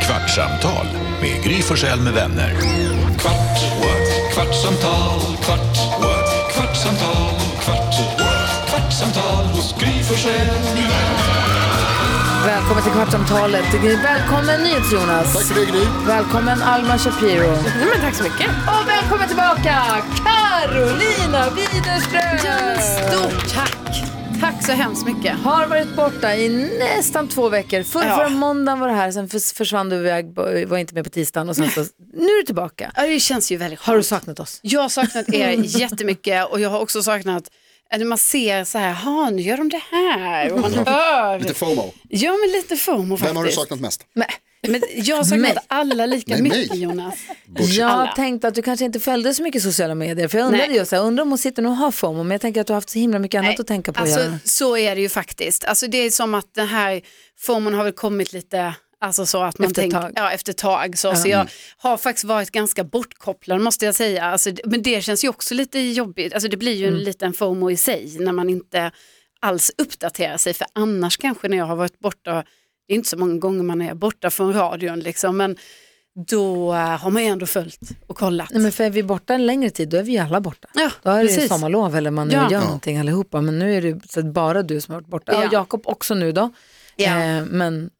Kvartsamtal med Gry Forssell med vänner. Kvart, what? kvartsamtal, kvart, what? kvartsamtal, kvart, what? kvartsamtal hos Gry Forssell med vänner. Välkommen till Kvartsamtalet. Välkommen NyhetsJonas. Tack för det, Gry. Välkommen Alma Shapiro. men tack så mycket. Och välkommen tillbaka Carolina Widerström. Stort tack. Tack så hemskt mycket. Har varit borta i nästan två veckor. För, Ja. Förra måndagen var du här, sen förs- försvann du iväg, b- var inte med på tisdagen och sen så, nu är du tillbaka. Ja, det känns ju väldigt Har du skönt. saknat Mm. oss? Jag har saknat er jättemycket och jag har också saknat eh, när man ser så här, ha nu gör de det här och man Mm. hör. Lite FOMO. Ja men lite FOMO faktiskt. Vem har du saknat mest? Nej. Men jag har saknat Mig. alla lika Nej, mig. mycket Jonas. Jag Alla. tänkte att du kanske inte följde så mycket sociala medier, för jag undrade Nej. ju så här, undrar om hon sitter och har FOMO, men jag tänker att du har haft så himla mycket annat att tänka på. att Alltså, göra. så är det ju faktiskt. Alltså, det är som att den här formen har väl kommit lite alltså, så att man Efter ett tänker, tag. Ja, efter ett tag. Så, så jag har faktiskt varit ganska bortkopplad måste jag säga. Alltså, det- men det känns ju också lite jobbigt. Alltså, det blir ju Mm. en liten FOMO i sig när man inte alls uppdaterar sig. För annars kanske när jag har varit borta, det är inte så många gånger man är borta från radion, liksom, men då eh, har man ju ändå följt och kollat. Nej, men för är vi borta en längre tid, då är vi ju alla borta. Ja, då är det precis. sommarlov eller man nu Ja. gör Ja. någonting allihopa. Men nu är det så att bara du som har varit borta. Ja. Ja. Och Jakob också nu då. Ja. Eh, men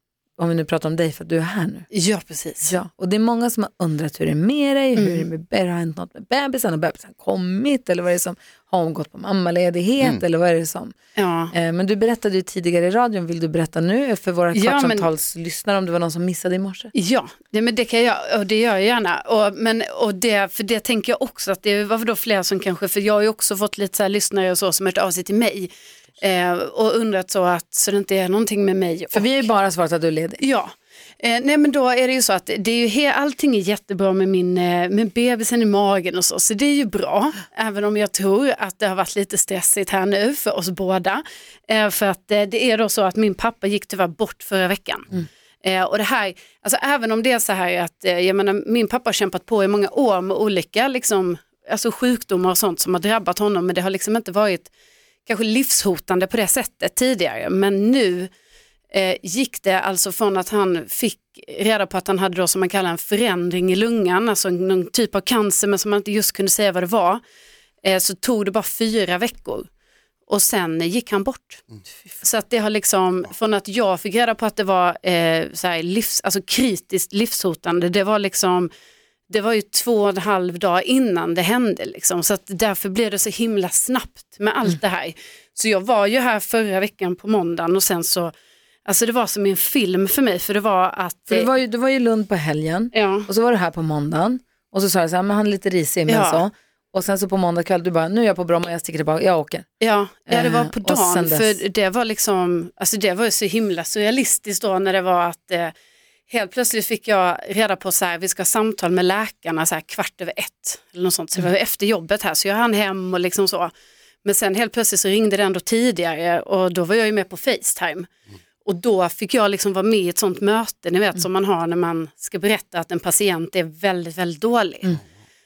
om vi nu pratar om dig, för att du är här nu. Ja, precis. Ja. Och det är många som har undrat hur det är med dig, Mm. hur det är med, har det hänt något med bebisen, har bebisen kommit eller vad är det som, har hon gått på mammaledighet Mm. eller vad är det som? Ja. Eh, men du berättade ju tidigare i radion, vill du berätta nu för våra Ja, men- kvartsamtalslyssnare om det var någon som missade i morse? Ja, det, men det kan jag, och det gör jag gärna. Och, men, och det, för det tänker jag också att det var då flera som kanske, för jag har ju också fått lite så här lyssnare och så som hört av sig till mig eh, och undrat så att så det inte är någonting med mig. För vi har ju bara svarat att du är ledig. Ja, eh, nej men då är det ju så att det är ju he- allting är jättebra med min eh, med bebisen i magen och så, så det är ju bra. Även om jag tror att det har varit lite stressigt här nu för oss båda. Eh, för att eh, det är då så att min pappa gick tyvärr bort förra veckan. Eh, och det här, alltså även om det är så här att, eh, jag menar min pappa har kämpat på i många år med olika liksom, alltså sjukdomar och sånt som har drabbat honom, men det har liksom inte varit kanske livshotande på det sättet tidigare. Men nu eh, gick det alltså från att han fick reda på att han hade då som man kallar en förändring i lungan, alltså någon typ av cancer men som man inte just kunde säga vad det var, eh, så tog det bara fyra veckor och sen gick han bort. Mm. Så att det har liksom, från att jag fick reda på att det var eh, så här livs, alltså kritiskt livshotande, det var liksom det var ju två och en halv dag innan det hände. Liksom. Så att därför blev det så himla snabbt med Mm. allt det här. Så jag var ju här förra veckan på måndagen och sen så, alltså det var som i en film för mig, för det var att... För du, var ju, du var ju i Lund på helgen. ja. Och så var du här på måndagen och så sa jag så här, men han är lite risig men Ja. så. Och sen så på måndag kväll, du bara, nu är jag på Bromma, jag sticker tillbaka, jag åker. Ja, ja, det var Eh, på och sen dagen, dess. för det var liksom, alltså det var ju så himla surrealistiskt då när det var att eh, helt plötsligt fick jag reda på så här, vi ska ha samtal med läkarna så här kvart över ett, eller något sånt, så det Mm. var ju efter jobbet här, så jag hann hem och liksom så. Men sen helt plötsligt så ringde det ändå tidigare och då var jag ju med på Facetime. Och då fick jag liksom vara med i ett sånt möte, ni vet, Mm. som man har när man ska berätta att en patient är väldigt, väldigt dålig. Mm.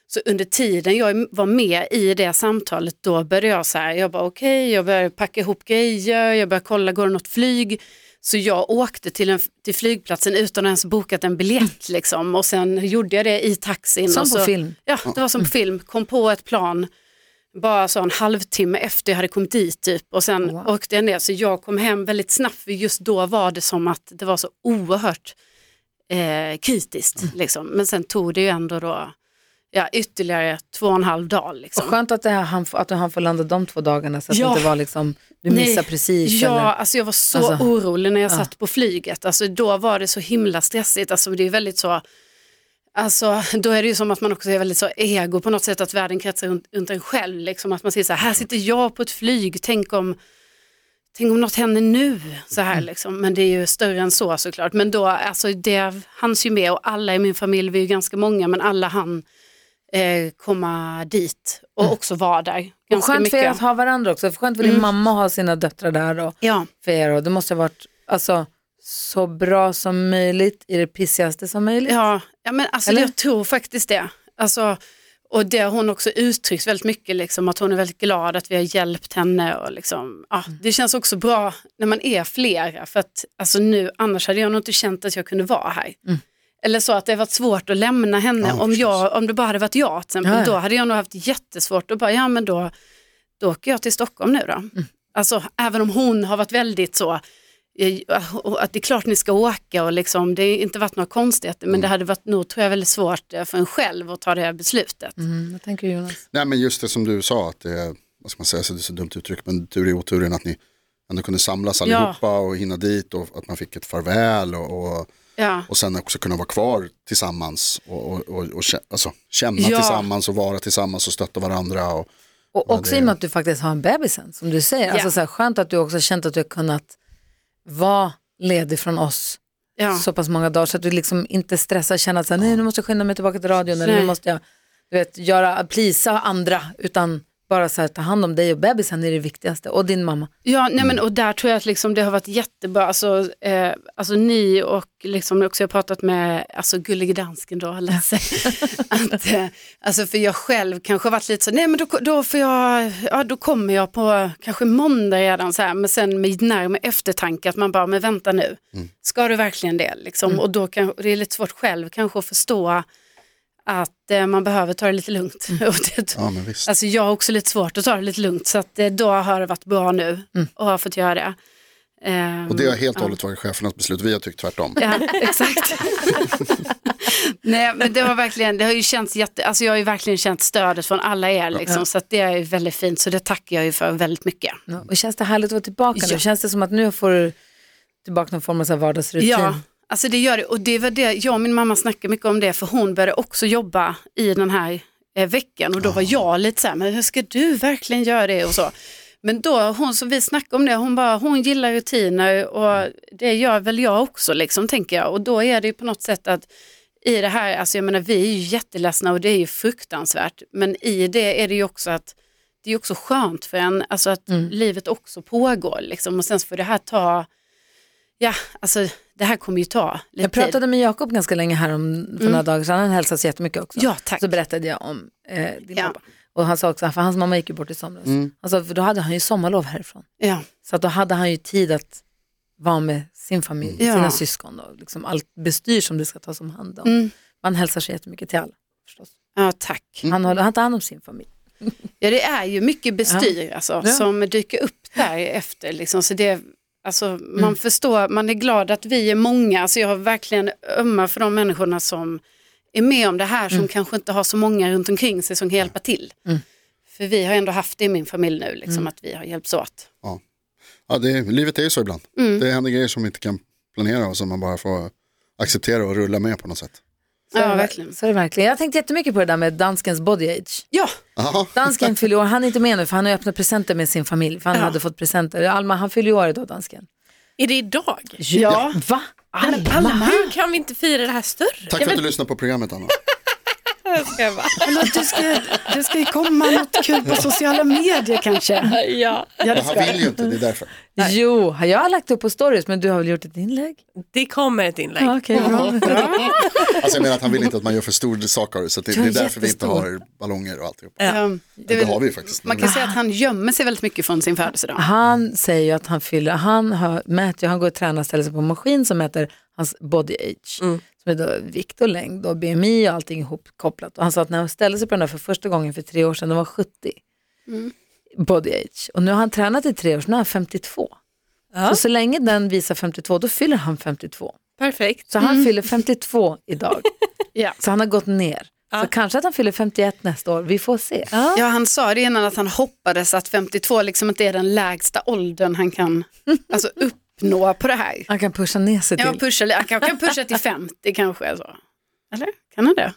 Så under tiden jag var med i det samtalet, då började jag så här, jag bara okej, jag började packa ihop grejer, jag började kolla, går det något flyg? Så jag åkte till, en, till flygplatsen utan att ens bokat en biljett liksom. Och sen gjorde jag det i taxin. Mm. Som och på så, film. Mm. Ja, det var som på film. Kom på ett plan, bara så en halvtimme efter jag hade kommit dit typ. Och sen Wow. åkte jag ner, så jag kom hem väldigt snabbt, för just då var det som att det var så oerhört eh, kritiskt. Liksom. Men sen tog det ju ändå då ja, ytterligare två och en halv dag. Och Liksom. skönt att, det här, han, får- att han får landa de två dagarna så att Ja. det inte var liksom, du missar Nej. precis. Ja, Eller, alltså jag var så Alltså, orolig när jag ja. satt på flyget. Alltså då var det så himla stressigt. Alltså det är väldigt så, alltså då är det ju som att man också är väldigt så ego på något sätt, att världen kretsar runt, runt en själv. Liksom att man säger så här, här sitter jag på ett flyg, tänk om Tänk om något händer nu, så Mm. här liksom. men det är ju större än så såklart. Men då, alltså det hanns ju med och alla i min familj, vi är ju ganska många, men alla han eh, komma dit och också vara där. Mm. och Ganska skönt för er mycket. Mm. att ha varandra också, för skönt för din mamma att ha sina döttrar där och Ja. för er. Och det måste ha varit alltså, så bra som möjligt i det pissigaste som möjligt. Ja, ja men alltså Eller? jag tror faktiskt det. Alltså, och det har hon också uttryckt väldigt mycket, liksom, att hon är väldigt glad att vi har hjälpt henne. Och liksom, ja, Mm. det känns också Mm. bra när man är flera, för att alltså, nu, annars hade jag nog inte känt att jag kunde vara här. Eller så att det har varit svårt att lämna henne. Ja, om, förstås. jag, om det bara hade varit jag till exempel, Ja, ja. då hade jag nog haft jättesvårt att bara, ja men då, då åker jag till Stockholm nu då. Mm. Alltså även om hon har varit väldigt så, eh, att det är klart ni ska åka och liksom, det har inte varit några konstigheter, men det hade varit nog tror jag väldigt svårt eh, för en själv att ta det här beslutet. Mm, vad tänker Jonas? Nej men just det som du sa, att det är, vad ska man säga, så det är så dumt uttryck, men tur i oturen att ni ändå kunde samlas Ja. allihopa och hinna dit och att man fick ett farväl och, och, Ja. och sen också kunna vara kvar tillsammans och, och, och, och kä- alltså, känna Ja. tillsammans och vara tillsammans och stötta varandra. Och, Och också det- i och med att du faktiskt har en bebis sen, som du säger. Alltså Ja. så här, skönt att du också har känt att du har kunnat vara ledig från oss Ja. så pass många dagar så att du liksom inte stressar och känner att så här, nej, nu måste jag skynda mig tillbaka till radion eller nu Nej. måste jag du vet, göra, plisa andra utan bara så här, ta hand om dig och bebisen är det viktigaste och din mamma. Ja, nej men, och där tror jag att liksom det har varit jättebra. Alltså, eh, alltså ni och liksom också jag har pratat med alltså, Gullige Dansken då, eller så. att, eh, alltså för jag själv kanske har varit lite så, nej men då, då får jag, ja då kommer jag på kanske måndag redan så här, men sen med närmare eftertanke att man bara, men vänta nu, ska du verkligen det liksom? Och då kan, och det är lite svårt själv kanske att förstå att eh, man behöver ta det lite lugnt. Och det, Ja men visst. Alltså jag har också lite svårt att ta det lite lugnt så att eh, då har det varit bra nu och har fått göra det. Ehm, Och det har helt och ja. hållet varit chefernas beslut, vi har tyckt tvärtom. Ja, exakt. Nej, men det har verkligen, det har ju känts jätte, alltså jag har ju verkligen känt stödet från alla er liksom, så att det är ju väldigt fint, så det tackar jag ju för väldigt mycket. Ja, Och känns det härligt att vara tillbaka nu? Ja. Känns det som att nu får du tillbaka någon form av så här vardagsrutin? Ja, alltså det gör det. Och det var det, jag och min mamma snackade mycket om det, för hon började också jobba i den här eh, veckan och då var jag lite så här, men hur ska du verkligen göra det och så. Men då, hon som vi snackade om det, hon bara, hon gillar rutiner och det gör väl jag också liksom, tänker jag. Och då är det ju på något sätt att i det här, alltså jag menar vi är ju jätteledsna och det är ju fruktansvärt, men i det är det ju också att det är ju också skönt för en, alltså att Mm. livet också pågår liksom och sen så får det här ta, ja alltså det här kommer ju ta lite Jag tid. pratade med Jakob ganska länge här om för några dagar sedan, han hälsas jättemycket också. Ja, tack. Så berättade jag om eh, din Ja. Mm. pappa. Och han sa också, för hans mamma gick ju bort i somras, han sa, för då hade han ju sommarlov härifrån. Ja, Så att då hade han ju tid att vara med sin familj, Mm. Ja. sina syskon och liksom allt bestyr som det ska tas om hand om. Mm. Man hälsar sig jättemycket till alla förstås. ja tack. Han, håller, han tar hand om sin familj. Ja det är ju mycket bestyr alltså, Ja. som dyker upp där efter. Liksom. Så det, alltså, man Mm. förstår, man är glad att vi är många. Alltså, jag har verkligen ömmar för de människorna som är med om det här Mm. som kanske inte har så många runt omkring sig som kan hjälpa till. För vi har ändå haft det i min familj nu, liksom, Mm. att vi har hjälpts åt. Ja. Ja, det, är- livet är ju så ibland. Mm. Det händer grejer som vi inte kan planera och som man bara får acceptera och rulla med på något sätt. Så är Ja, det- verkligen. Så är det verkligen. Jag har tänkt jättemycket på det där med danskens body age. Ja, Aha. Dansken fyller år, han är inte med nu för han har öppnat presenter med sin familj. För han Ja. hade fått presenter. Alma, han fyller ju år idag, dansken. Är det idag? Ja. Va? Alma, hur kan vi inte fira det här större? Tack för att du lyssnade på programmet Anna. förlåt, det ska, det ska ju komma något kul på sociala medier kanske. Ja, Jag han vill ju inte, det är därför. Jo, har jag har lagt upp på stories men du har väl gjort ett inlägg? det kommer ett inlägg. Okej, bra. Alltså jag menar att han vill inte att man gör för stor sak av det, så att det, det Jag är är därför vi inte jättestor. Eh, har ballonger och alltihop. Um, Det, det är har väl, vi ju faktiskt. man kan säga att han gömmer sig väldigt mycket från sin födelsedag. Han säger ju att han fyller, han har, mäter, ju- han går och tränar och ställer sig på en maskin som mäter hans body age. Som är då vikt och längd och BMI och allting ihopkopplat. Och han sa att när han ställde sig på den där för första gången för tre år sedan, då var han 70. Body age. Och nu har han tränat i tre år, så nu är han 52. Ja. Så så länge den visar 52, då fyller han 52. Perfekt. Så han fyller 52 idag. Ja. Så han har gått ner. Så Ja. kanske att han fyller 51 nästa år, vi får se. Ja, han sa det innan att han hoppades att 52 liksom inte är den lägsta åldern han kan alltså, uppnå på det här. Han kan pusha ner sig Ja, till. pusha, li- han kan, kan pusha till 50 kanske. Så. Eller? Kan han det?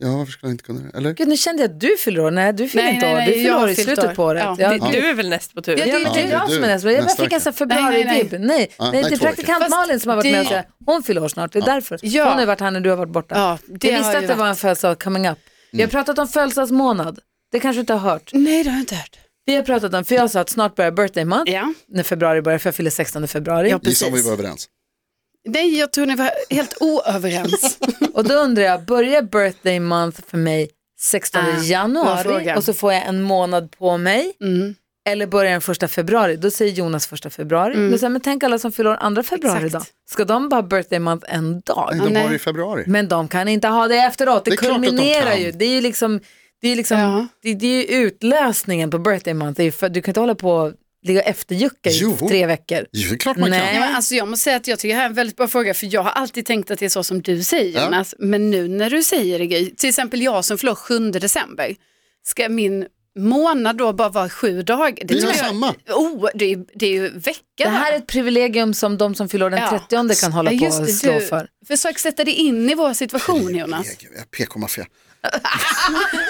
Ja, varför skulle han inte kunna det? Eller? Gud, nu kände jag att du fyller år. Nej, du fyller Nej, inte nej, år. nej, Du jag fyller har år i fyllt slutet år. på året. Ja. Ja, Det, du är väl näst på tur? Ja, det, Ja, det är det jag är som du. är nästa. Jag Nästa fick en sån Nej, nej, nej. februari-vibb. Nej, Ja, nej, nej, det är två veckor. praktikant Fast Malin som har varit det- med och sagt hon fyller år snart. Det är därför. Ja. Hon har varit här när du har varit borta. Ja, det jag har visste jag att det varit. var en födelsedag coming up. Vi har pratat om födelsedagsmånad. Det kanske du inte har hört. Nej, det har jag inte hört. Vi har pratat om, för jag sa att snart börjar birthday month. Ja. När februari börjar, för jag fyller 16 februari. Ja, Gissa om vi precis. var överens. Nej, jag tror ni var helt oöverens. Och då undrar jag, börjar birthday month för mig 16 Ah, bra januari fråga. Mm. och så får jag en månad på mig? Eller börjar den första februari, då säger Jonas första februari. Då säger, jag, men tänk alla som fyller år andra februari Mm. Exakt. då. Ska de bara ha birthday month en dag? Nej, de nej. har det i februari. Men de kan inte ha det efteråt, det, Det är klart att de kulminerar kan. ju. Det är ju liksom, det är liksom, Ja. det, det är ju utlösningen på birthday month. Det är ju för, du kan inte hålla på och ligga och efterjucka i Jo. tre veckor. Jo, det är klart man Nej. kan. Ja, men alltså jag måste säga att jag tycker det här är en väldigt bra fråga för jag har alltid tänkt att det är så som du säger Ja. Jonas. Men nu när du säger det Gry, till exempel jag som förlorar 7 december, ska min månad då bara vara sju dagar? Det Vi har tycker jag- samma. Oh, det, är, det är ju vecka. Det här är ett privilegium som de som fyller år den Ja. 30 kan hålla Ja, på just och det, slå du- för. Försök sätta dig in i vår situation Jonas. PK-maffia.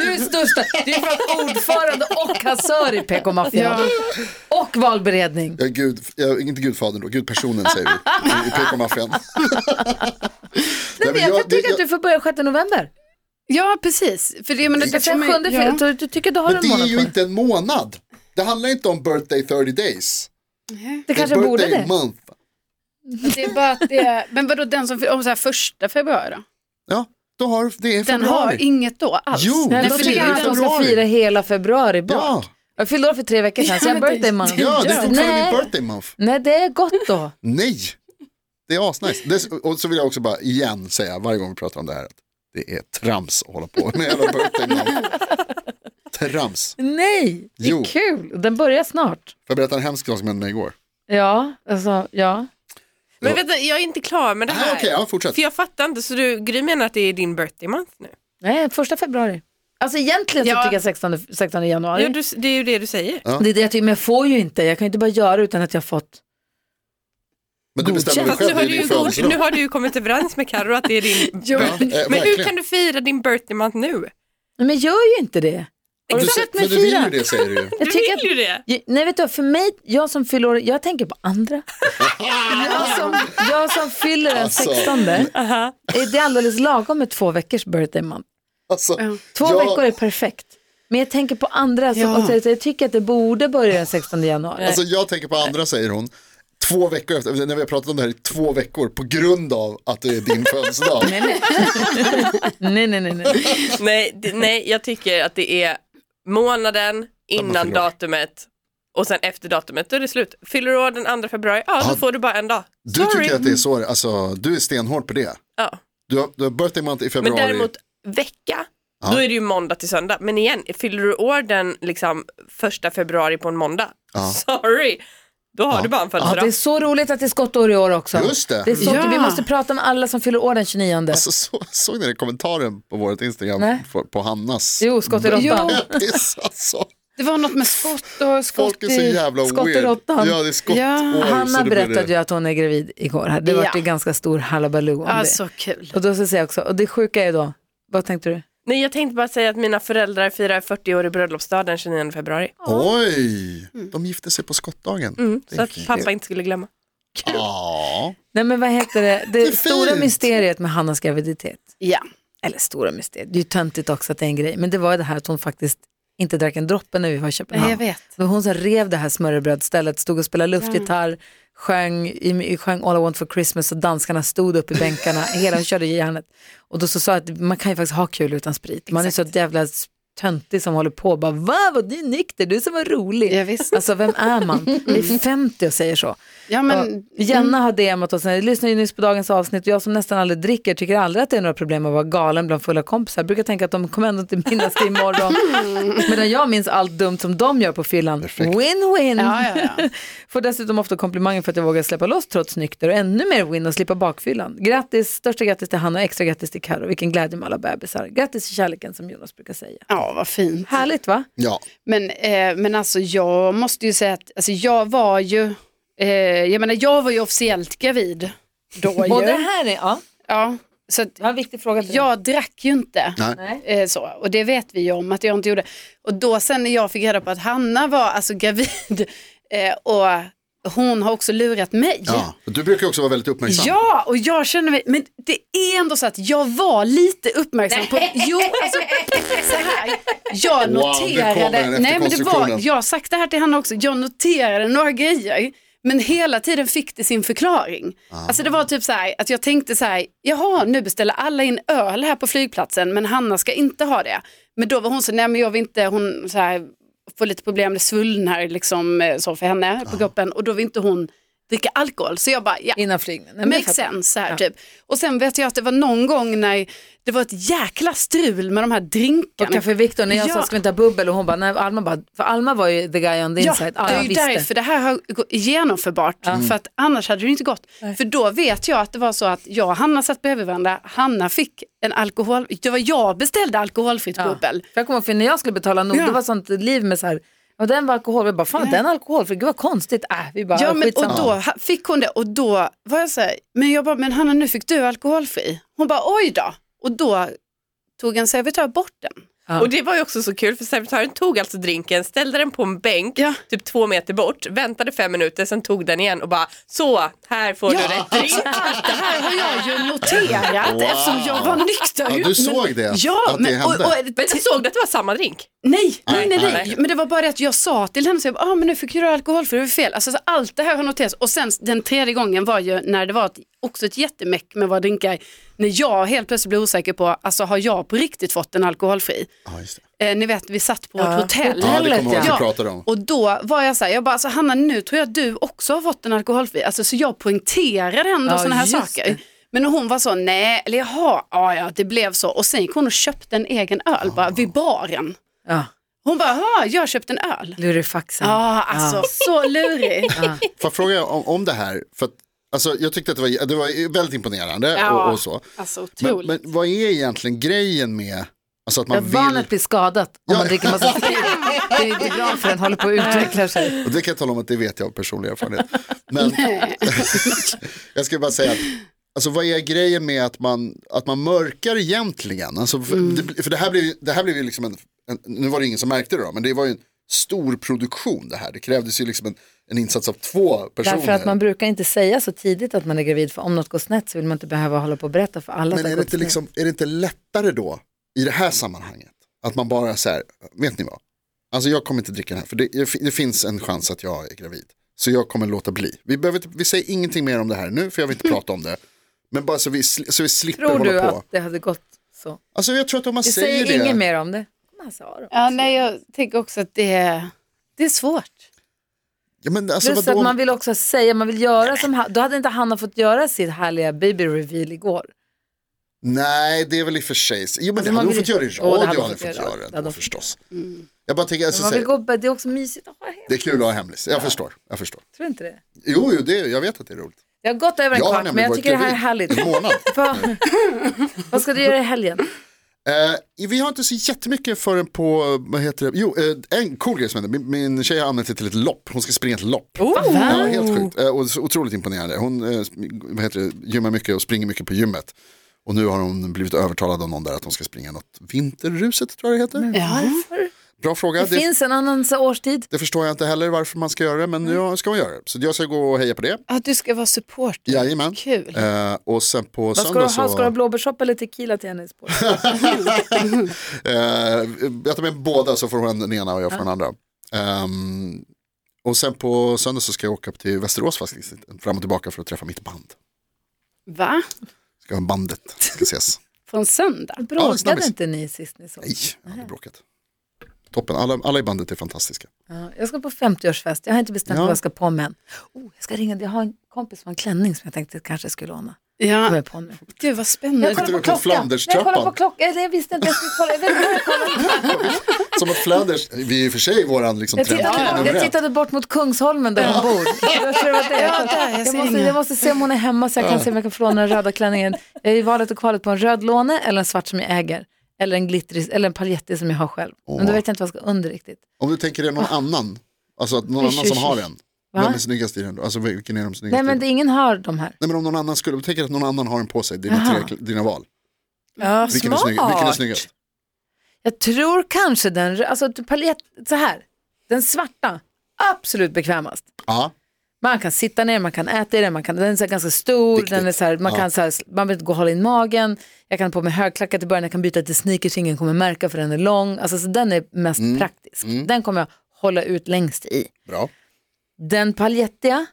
Du är största, du är både ordförande och kassör i PK Mafia. Och valberedning. Ja, gud, ja, inte gudfadern då, gudpersonen säger vi i- i PK-maffian. Nej, Men jag, kan tycka att du får börja 6 november. Ja, precis. För det, men, det, det, Sen 7 ja. ja. du tycker du har Men en det är månad ju på dig. inte en månad. Det handlar inte om birthday 30 days. Det Det är kanske borde birthday det. month. det är bara att det är, men vadå den som, om så här första februari då? Ja, då har, det är Den februari. har inget då alls. Jo, Nej, det de för firar tycker vi i att de ska februari. fira hela februari bak. Ja. Jag fyllde år för tre veckor sedan, så jag har men det- birthday month. Ja, det är fortfarande nej, min birthday month. nej, det är gott då. Nej, det är asnice. Det, och så vill jag också bara igen säga varje gång vi pratar om det här att det är trams att hålla på med hela birthday month. Trams. Nej, det är Jo. kul. Och Den börjar snart. Får jag berätta en hemsk sak som hände mig igår? Ja, alltså, ja. Men vänta, jag är inte klar med det Nej, här. Ah, okej, ja, fortsätt. För jag fattar inte, så du, Gry menar att det är din birthday month nu? Nej, första februari. Alltså egentligen så Ja. tycker jag 16, 16 januari. Ja, du, det är ju det du säger. Det är det jag tycker, men jag får ju inte. Jag kan ju inte bara göra utan att jag fått. Men du bestämmer dig Fast nu själv, har, det är du ju din god, nu födelsedag. har du ju kommit överens med Carro att det är din Ja, eh, birthday Men hur verkligen. kan du fira din birthday month nu? Nej, Men jag gör ju inte det. Har du Du, sett sä- mig men du vill fira? ju det säger du ju. Jag Du tycker vill ju det. Ja, Nej vet du vad, för mig, jag som fyller år, jag tänker på andra. jag, som, jag som fyller den Alltså. 16 är det alldeles lagom med två veckors birthday month. Alltså, Två jag- veckor är perfekt. Men jag tänker på andra, som, Ja. och så, så jag tycker att det borde börja den 16 januari. Alltså jag tänker på andra säger hon. Två veckor efter, när vi har pratat om det här i två veckor på grund av att det är din födelsedag. Nej, nej. nej, nej, nej, nej. Nej, det, nej, jag tycker att det är månaden innan fyller år. datumet och sen efter datumet, då är det slut. Fyller du år den 2 februari, ja då Ja. får du bara en dag. Ah, Du Sorry. tycker att det är så, alltså du är stenhård på det. Ja. Du har, du har birthday month i Men februari. däremot vecka, då är det ju måndag till söndag. Men igen, fyller du år den liksom första februari på en måndag, sorry, då har du bara en Ja, födelsedag. det är så roligt att det är skottår i år också. Just det. är så, Ja. Vi måste prata om alla som fyller år den 29. Alltså, så, såg ni den kommentaren på vårt Instagram Nej. på, på Hannas? Jo, skott i råttan. Grattis alltså. Det var något med skott och skott Folk är så i- jävla skott i weird. råttan. Ja, det är skott Ja. år, så Hanna det blir berättade ju att hon är gravid igår. här. Det var Ja. ju ganska stor halabaloo om Ja, Alltså, det. så kul. Och då så säger jag också, och det sjuka är då, vad tänkte du? Nej, jag tänkte bara säga att mina föräldrar firar 40 år i bröllopsdag den 29 februari. Oj, de gifte sig på skottdagen. Mm, Det är så att fint. pappa inte skulle glömma. Ja, Nej men vad heter det, det, är stora fint. mysteriet med Hannas graviditet, Ja. eller stora mysteriet, det är ju töntigt också att det är en grej, men det var ju det här att hon faktiskt inte drack en droppe när vi var i Nej, Köpenhamn. jag vet. Det var hon som rev det här smörrebrödstället, stod och spelade luftgitarr, Mm. sjöng, i, i- sjöng All I Want For Christmas och danskarna stod upp i bänkarna, hela hon körde järnet. Och då så sa jag att man kan ju faktiskt ha kul utan sprit, man är så jävla töntig som håller på och bara va, vad du är nykter, du som var rolig. Ja, visst. Alltså vem är man? Det är 50 och säger så. Ja, men, Och Jenna har DMat oss, jag lyssnade ju nyss på dagens avsnitt och jag som nästan aldrig dricker tycker aldrig att det är några problem att vara galen bland fulla kompisar. Jag brukar tänka att de kommer ändå inte minnas det imorgon. Mm. Medan jag minns allt dumt som de gör på fyllan. Win-win! ja, ja, ja. Får dessutom ofta komplimanger för att jag vågar släppa loss trots nykter och ännu mer win och slippa bakfyllan. Grattis, största grattis till Hanna och extra grattis till Karo. Vilken glädje med alla bebisar. Grattis till kärleken som Jonas brukar säga. ja, vad fint. Härligt va? ja. Men, eh, men alltså jag måste ju säga att alltså, jag var ju, eh, jag menar jag var ju officiellt gravid då Och det ju. här är, ja, Ja, så att det var en viktig fråga till dig. jag drack ju inte. Nej. Nej. Eh, så, och det vet vi ju om att jag inte gjorde. Och då sen när jag fick reda på att Hanna var alltså gravid eh, och hon har också lurat mig. ja. Du brukar ju också vara väldigt uppmärksam. Ja, och jag känner mig, men det är ändå så att jag var lite uppmärksam på, jo alltså så här, jag Wow, nu kommer noterade, den efter nej men det var, konstruktionen. jag har sagt det här till Hanna också, jag noterade några grejer, men hela tiden fick det sin förklaring. Ah. Alltså det var typ så här, att jag tänkte så här, jaha nu beställer alla in öl här på flygplatsen, men Hanna ska inte ha det. Men då var hon så, nej men jag vill inte, hon så här, får lite problem, det svullnar liksom eh, så för henne Ah. på kroppen och då vill inte hon dricka alkohol. Så jag bara, ja, Innan flygningen. Nej, men jag makes fattar. sense så här typ. Och sen vet jag att det var någon gång när det var ett jäkla strul med de här Och drinkarna. Café Victor, när jag Ja. sa ska vi inte ha bubbel och hon bara, nej Alma bara, för Alma var ju the guy on the Ja, inside. det är ju därför det här har gått genomförbart, för att annars hade det inte gått. För då vet jag att det var så att jag och Hanna satt bredvid varandra, Hanna fick en alkohol, det var jag beställde alkoholfritt Ja. bubbel. För jag kommer ihåg, för när jag skulle betala nog, Ja. det var sånt liv med så här, och den var alkohol, vi bara, fan den alkohol, för gud vad konstigt, äh, vi bara, Ja, men, och skitsamma. då ha- fick hon det och då var jag så här, men jag bara, men Hanna nu fick du alkoholfri. Hon bara, oj då. Och då tog en servitör bort den. Ja. Och det var ju också så kul för servitören tog alltså drinken, ställde den på en bänk Ja. typ två meter bort, väntade fem minuter, sen tog den igen och bara så, här får du rätt drink. alltså, allt det här har jag ju noterat Wow. eftersom jag var nykter. Ja, du såg det, Ja, att det men, och, hände. och, Men du såg du att det var samma drink? nej, nej, nej, nej, nej. men det var bara det att jag sa till henne, så jag bara, ah, men nu fick ju du alkoholfri, det var fel. Alltså, så allt det här har noterats. Och sen den tredje gången var ju när det var ett, också ett jättemäck med våra drinkar, när jag helt plötsligt blev osäker på, alltså har jag på riktigt fått en alkoholfri? Ja, just det. Eh, ni vet, vi satt på Ja. vårt hotell. Ja, det kommer jag ihåg att Ja. vi pratade om. Och då var jag så här, jag bara, alltså, Hanna nu tror jag du också har fått en alkoholfri, alltså, så jag poängterade ändå Ja, sådana här just saker. det. Men hon var så, nej, eller jaha, ja, ja, det blev så. Och sen gick hon och köpte en egen öl Ah. bara vid baren. Ja, Hon bara, ja, jag köpte en öl. lurifaxen. Ja, alltså Ah. så lurig. Får jag fråga om, om det här? För att, alltså, jag tyckte att det var, det var väldigt imponerande och, och så. Alltså Men, otroligt. men vad är egentligen grejen med alltså att man Att barnet vill? blir skadat om man dricker massa sprit. Det är inte bra för den håller på att utveckla sig. Och det kan jag tala om att det vet jag av personlig erfarenhet. Men jag ska bara säga att Alltså vad är grejen med att man, att man mörkar egentligen? Alltså, för, Mm. det, för det här blev ju, det här blev ju liksom en, en, nu var det ingen som märkte det då, men det var ju en stor produktion det här. Det krävdes ju liksom en, en insats av två personer. Därför att man brukar inte säga så tidigt att man är gravid, för om något går snett så vill man inte behöva hålla på och berätta för alla. att Men det är har det, gått inte snett. liksom, är det inte lättare då i det här sammanhanget? Att man bara så här, vet ni vad? Alltså jag kommer inte dricka den här, för det, det finns en chans att jag är gravid. Så jag kommer låta bli. Vi, behöver, inte- vi säger ingenting mer om det här nu, för jag vill inte prata om det. Men bara så vi, sli- så vi slipper Tror hålla du på. att det hade gått så? Alltså jag tror att om man Vi säger, säger, det. inget mer om det. Man sa det. ja, nej, jag tänker också att det är, det är svårt. Ja, men alltså, Plus vadå? att man vill också säga, man vill göra som, han- då hade inte Hanna fått göra sitt härliga baby reveal igår. Nej, det är väl i och för sig. Jo, men Alltså, det hade man hon vill- fått göra i Jo, det hade radio. hon hade fått göra. fått Det göra hade hon ändå fått förstås. Jag bara tänker, alltså, Mm. Man säg, vill gå, det är också mysigt att ha hem, det är kul att ha hemlis. Jag förstår, jag förstår. tror du inte det? Jo, jo det, jag vet att det är roligt. Jag har gått över en Jag har kvart, nämligen men jag varit tycker det här är gravid härligt. en månad. Vad- Vad ska du göra i helgen? Eh, vi har inte så jättemycket förrän på, vad heter det, jo, eh, en cool grej som hände, min, min tjej har anmält sig till ett lopp, hon ska springa ett lopp. Oh. Ja, helt sjukt, eh, och så otroligt imponerande. Hon eh, sp- vad heter det, gymmar mycket och springer mycket på gymmet. Och nu har hon blivit övertalad av någon där att hon ska springa något vinterruset, tror jag det heter. Varför? Bra fråga, Det det, finns en annan så årstid. det förstår jag inte heller varför man ska göra det, men Mm. nu ska man göra det. Så jag ska gå och heja på det. Att du ska vara supporter. Jajamän. Kul. Eh, och sen på Vad ska du söndag ha? så... Ska du ha blåbärssoppa eller tequila till hennes på? Eh, jag tar med båda så får hon den ena och jag får den andra. Ehm, och sen på söndag så ska jag åka upp till Västerås faktiskt, fram och tillbaka för att träffa mitt band. Va? Ska ha bandet, ska ses. Från söndag? Bråkade snabbis. inte ni sist ni såg? Nej, jag har aldrig bråkat. Toppen, alla, alla i bandet är fantastiska. Ja, jag ska på 50-årsfest, jag har inte bestämt Ja. vad jag ska på med än. Oh, jag ska ringa, jag har en kompis som har en klänning som jag tänkte kanske skulle låna. Kom Ja, jag på nu. gud vad Jag spännande. Sitter kollar du på på klockan. Nej, Jag kollar på Flanderstrappan? klockan. Eller Jag visste inte, jag skulle kolla. Jag, vet inte, jag, kollar. Som att Flanders, vi är i och för sig våran liksom, jag, trendkill tittade, nummer jag ett. tittade bort mot Kungsholmen där hon bor. Jag, tror att det är- Ja, där, jag jag, ser måste, inga. jag måste se om hon är hemma så jag kan se om jag kan få låna den röda klänningen. Jag är i valet och kvalet på en röd låne eller en svart som jag äger. Eller en glittrig, eller en paljettig som jag har själv. Men då Åh. vet jag inte vad jag ska under riktigt. Om du tänker dig någon annan, alltså att någon Usch, annan som usch, har usch. den. Va? Vem är snyggast i den då? Alltså vilken är de snyggaste? Nej men det, ingen har de här. Nej men om någon annan skulle, tänk att någon annan har en på sig, dina, Jaha. tre, dina val. Ja, Vilken är, snygg, vilken är snyggast? Jag tror kanske den, rö- alltså paljett, så här. Den svarta, absolut bekvämast. Ja, Man kan sitta ner, man kan äta i den, man kan, den är så här ganska stor, Viktigt. den är så här, man, Ja. kan så här, man vill inte gå och hålla in magen, jag kan ha på mig högklackat i början, jag kan byta till sneakers, ingen kommer märka för den är lång. Alltså, så den är mest praktisk. Den kommer jag hålla ut längst i. bra. Den paljettiga,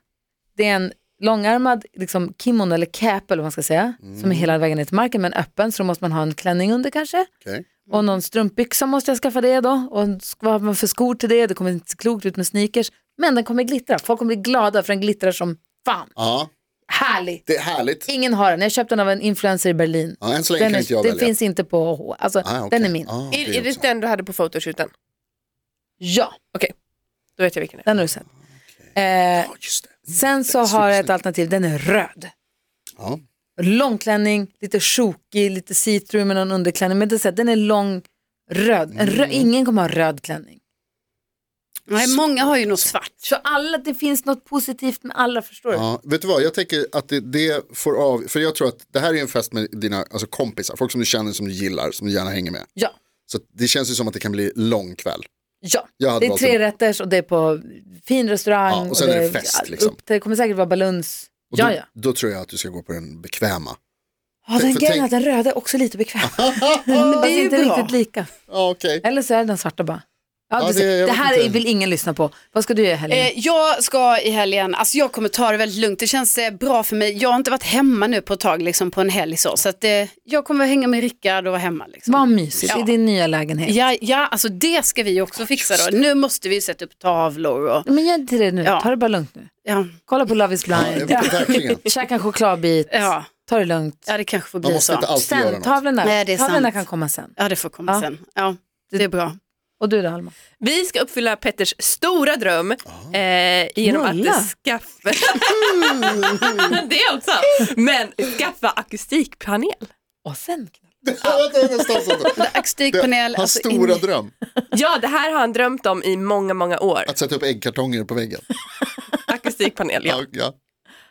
det är en långärmad liksom, kimono eller cap eller vad man ska säga, som är hela vägen ner till marken men öppen, så då måste man ha en klänning under kanske. Okej. Och någon strumpbyxa måste jag skaffa det då. Och sk- vad har man för skor till det? Det kommer inte se klokt ut med sneakers. Men den kommer glittra. Folk kommer bli glada för den glittrar som fan. Ja, Härligt. det är härligt. Ingen har den. Jag köpte den av en influencer i Berlin. Ja, än så länge Den, kan inte jag är, den välja. finns inte på H. Alltså, Ah, okej. den är min. Ah, det Är, är är det också. den du hade på fotoshooten? Ja, Då vet jag vilken det är. den har du Ah, sett. Eh, Ja, just det. sen så har jag ett alternativ. Den är röd. Ja. långklänning, lite sjokig, lite see-through med någon underklänning. Men det är så här, den är lång, röd. En rö- Mm. Ingen kommer ha röd klänning. Nej, många har ju något svart. Så alla, det finns något positivt med alla, förstår du? Ja, vet du vad, jag tänker att det, det får av, för jag tror att det här är en fest med dina alltså kompisar, folk som du känner, som du gillar, som du gärna hänger med. Ja, Så det känns ju som att det kan bli lång kväll. ja. Jag hade Det är valt tre en- rätters och det är på fin restaurang. Ja, och sen är det fest, ja, liksom. upp- det kommer säkert vara baluns. Och Ja, då, ja. då tror jag att du ska gå på den bekväma. Ja, den för grejen tänk- att den röda är också lite bekväm. Men det är inte bra. riktigt lika. Ja, okej. Eller så är det den svarta bara. Ja, Ja, du det- ser. det, jag vet här inte. är- vill ingen lyssna på. Vad ska du göra i helgen? Eh, jag ska i helgen, alltså jag kommer ta det väldigt lugnt, det känns eh, bra för mig. Jag har inte varit hemma nu på ett tag liksom, på en helg så, så att, eh, jag kommer hänga med Rickard och vara hemma. Liksom. Vad mysigt Ja. i din nya lägenhet. Ja, ja, alltså det ska vi också fixa då. Nu måste vi sätta upp tavlor och Men gör inte det nu, Ja. ta det bara lugnt nu. ja, Kolla på Love is blind. Ja, verkligen. Käka en chokladbit, ja, ta det lugnt. ja det kanske får Man bli måste inte så. alltid göra Sen, något. tavlorna, Nej, det är tavlorna sant. kan komma sen. Ja, det får komma Ja. sen. Ja, det är bra. Och du då Alma? Vi ska uppfylla Petters stora dröm Ah. eh, genom Nolla. att skaffa... det är alltså. Men skaffa akustikpanel. Och sen? Vänta, vänta, stopp, stopp, stopp. Akustikpanel. Hans alltså, stora dröm, Ja, det här har han drömt om i många, många år. att sätta upp äggkartonger på väggen. Akustikpanel, ja. Ja, ja.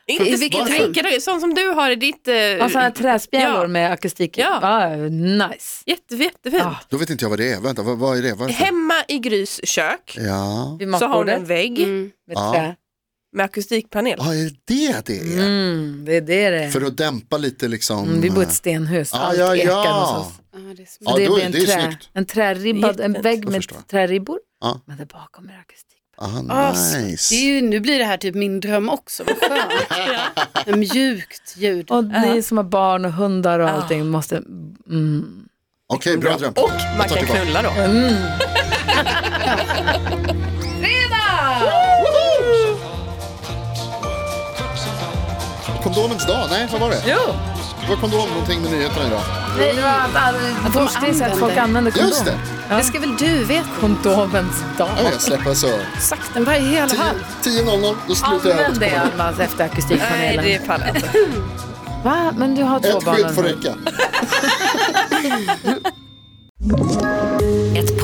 Inte Vilket- vilken sån som du har i ditt... Eh, Ja, sådana Alltså, här träspjälor Ja. med akustik i. Ja. Ah, nice. Ah, jätte, jättefint. Ja. Då vet inte jag vad det är, vänta, vad, vad är det? Varför? Hemma i Grys kök Ja, Vid så har hon en matbordet vägg Mm. med Ja. trä. med akustikpanel. ah, är det det är? Mm, det är det det är. För att dämpa lite liksom. Mm, vi bor i ett stenhus, Ja, allt ja, ekar ja. hos oss. Ja, det är smart. Ja, Så det då är- blir en, det är trä, snyggt. en träribbad, en Jättefint. vägg Jag med förstår. träribbor. Ja. Men där bakom är akustik. ah, Ah, nice. Det är ju, nu blir det här typ min dröm också, vad skönt. Ett Mjukt ljud. Och ni som har barn och hundar och allting måste... Mm. Okej, bra dröm. Och man Jag tar kan tillbaka. knulla då. Kondomens dag, nej vad var det? Jo, Det var kondom någonting med nyheterna idag. det var att, att, de forskning säger att folk använder. använder kondom. Just det, Det ska väl du veta? Kondomens ja, dag. jag släpper så. Sagt den bara i hela hand. 10.00, då slutar jag. Använd det Almas efter Nej, akustikpanelen. det är fallet. Va? Men du har två Ett barn och skydd en får hund. räcka. Ett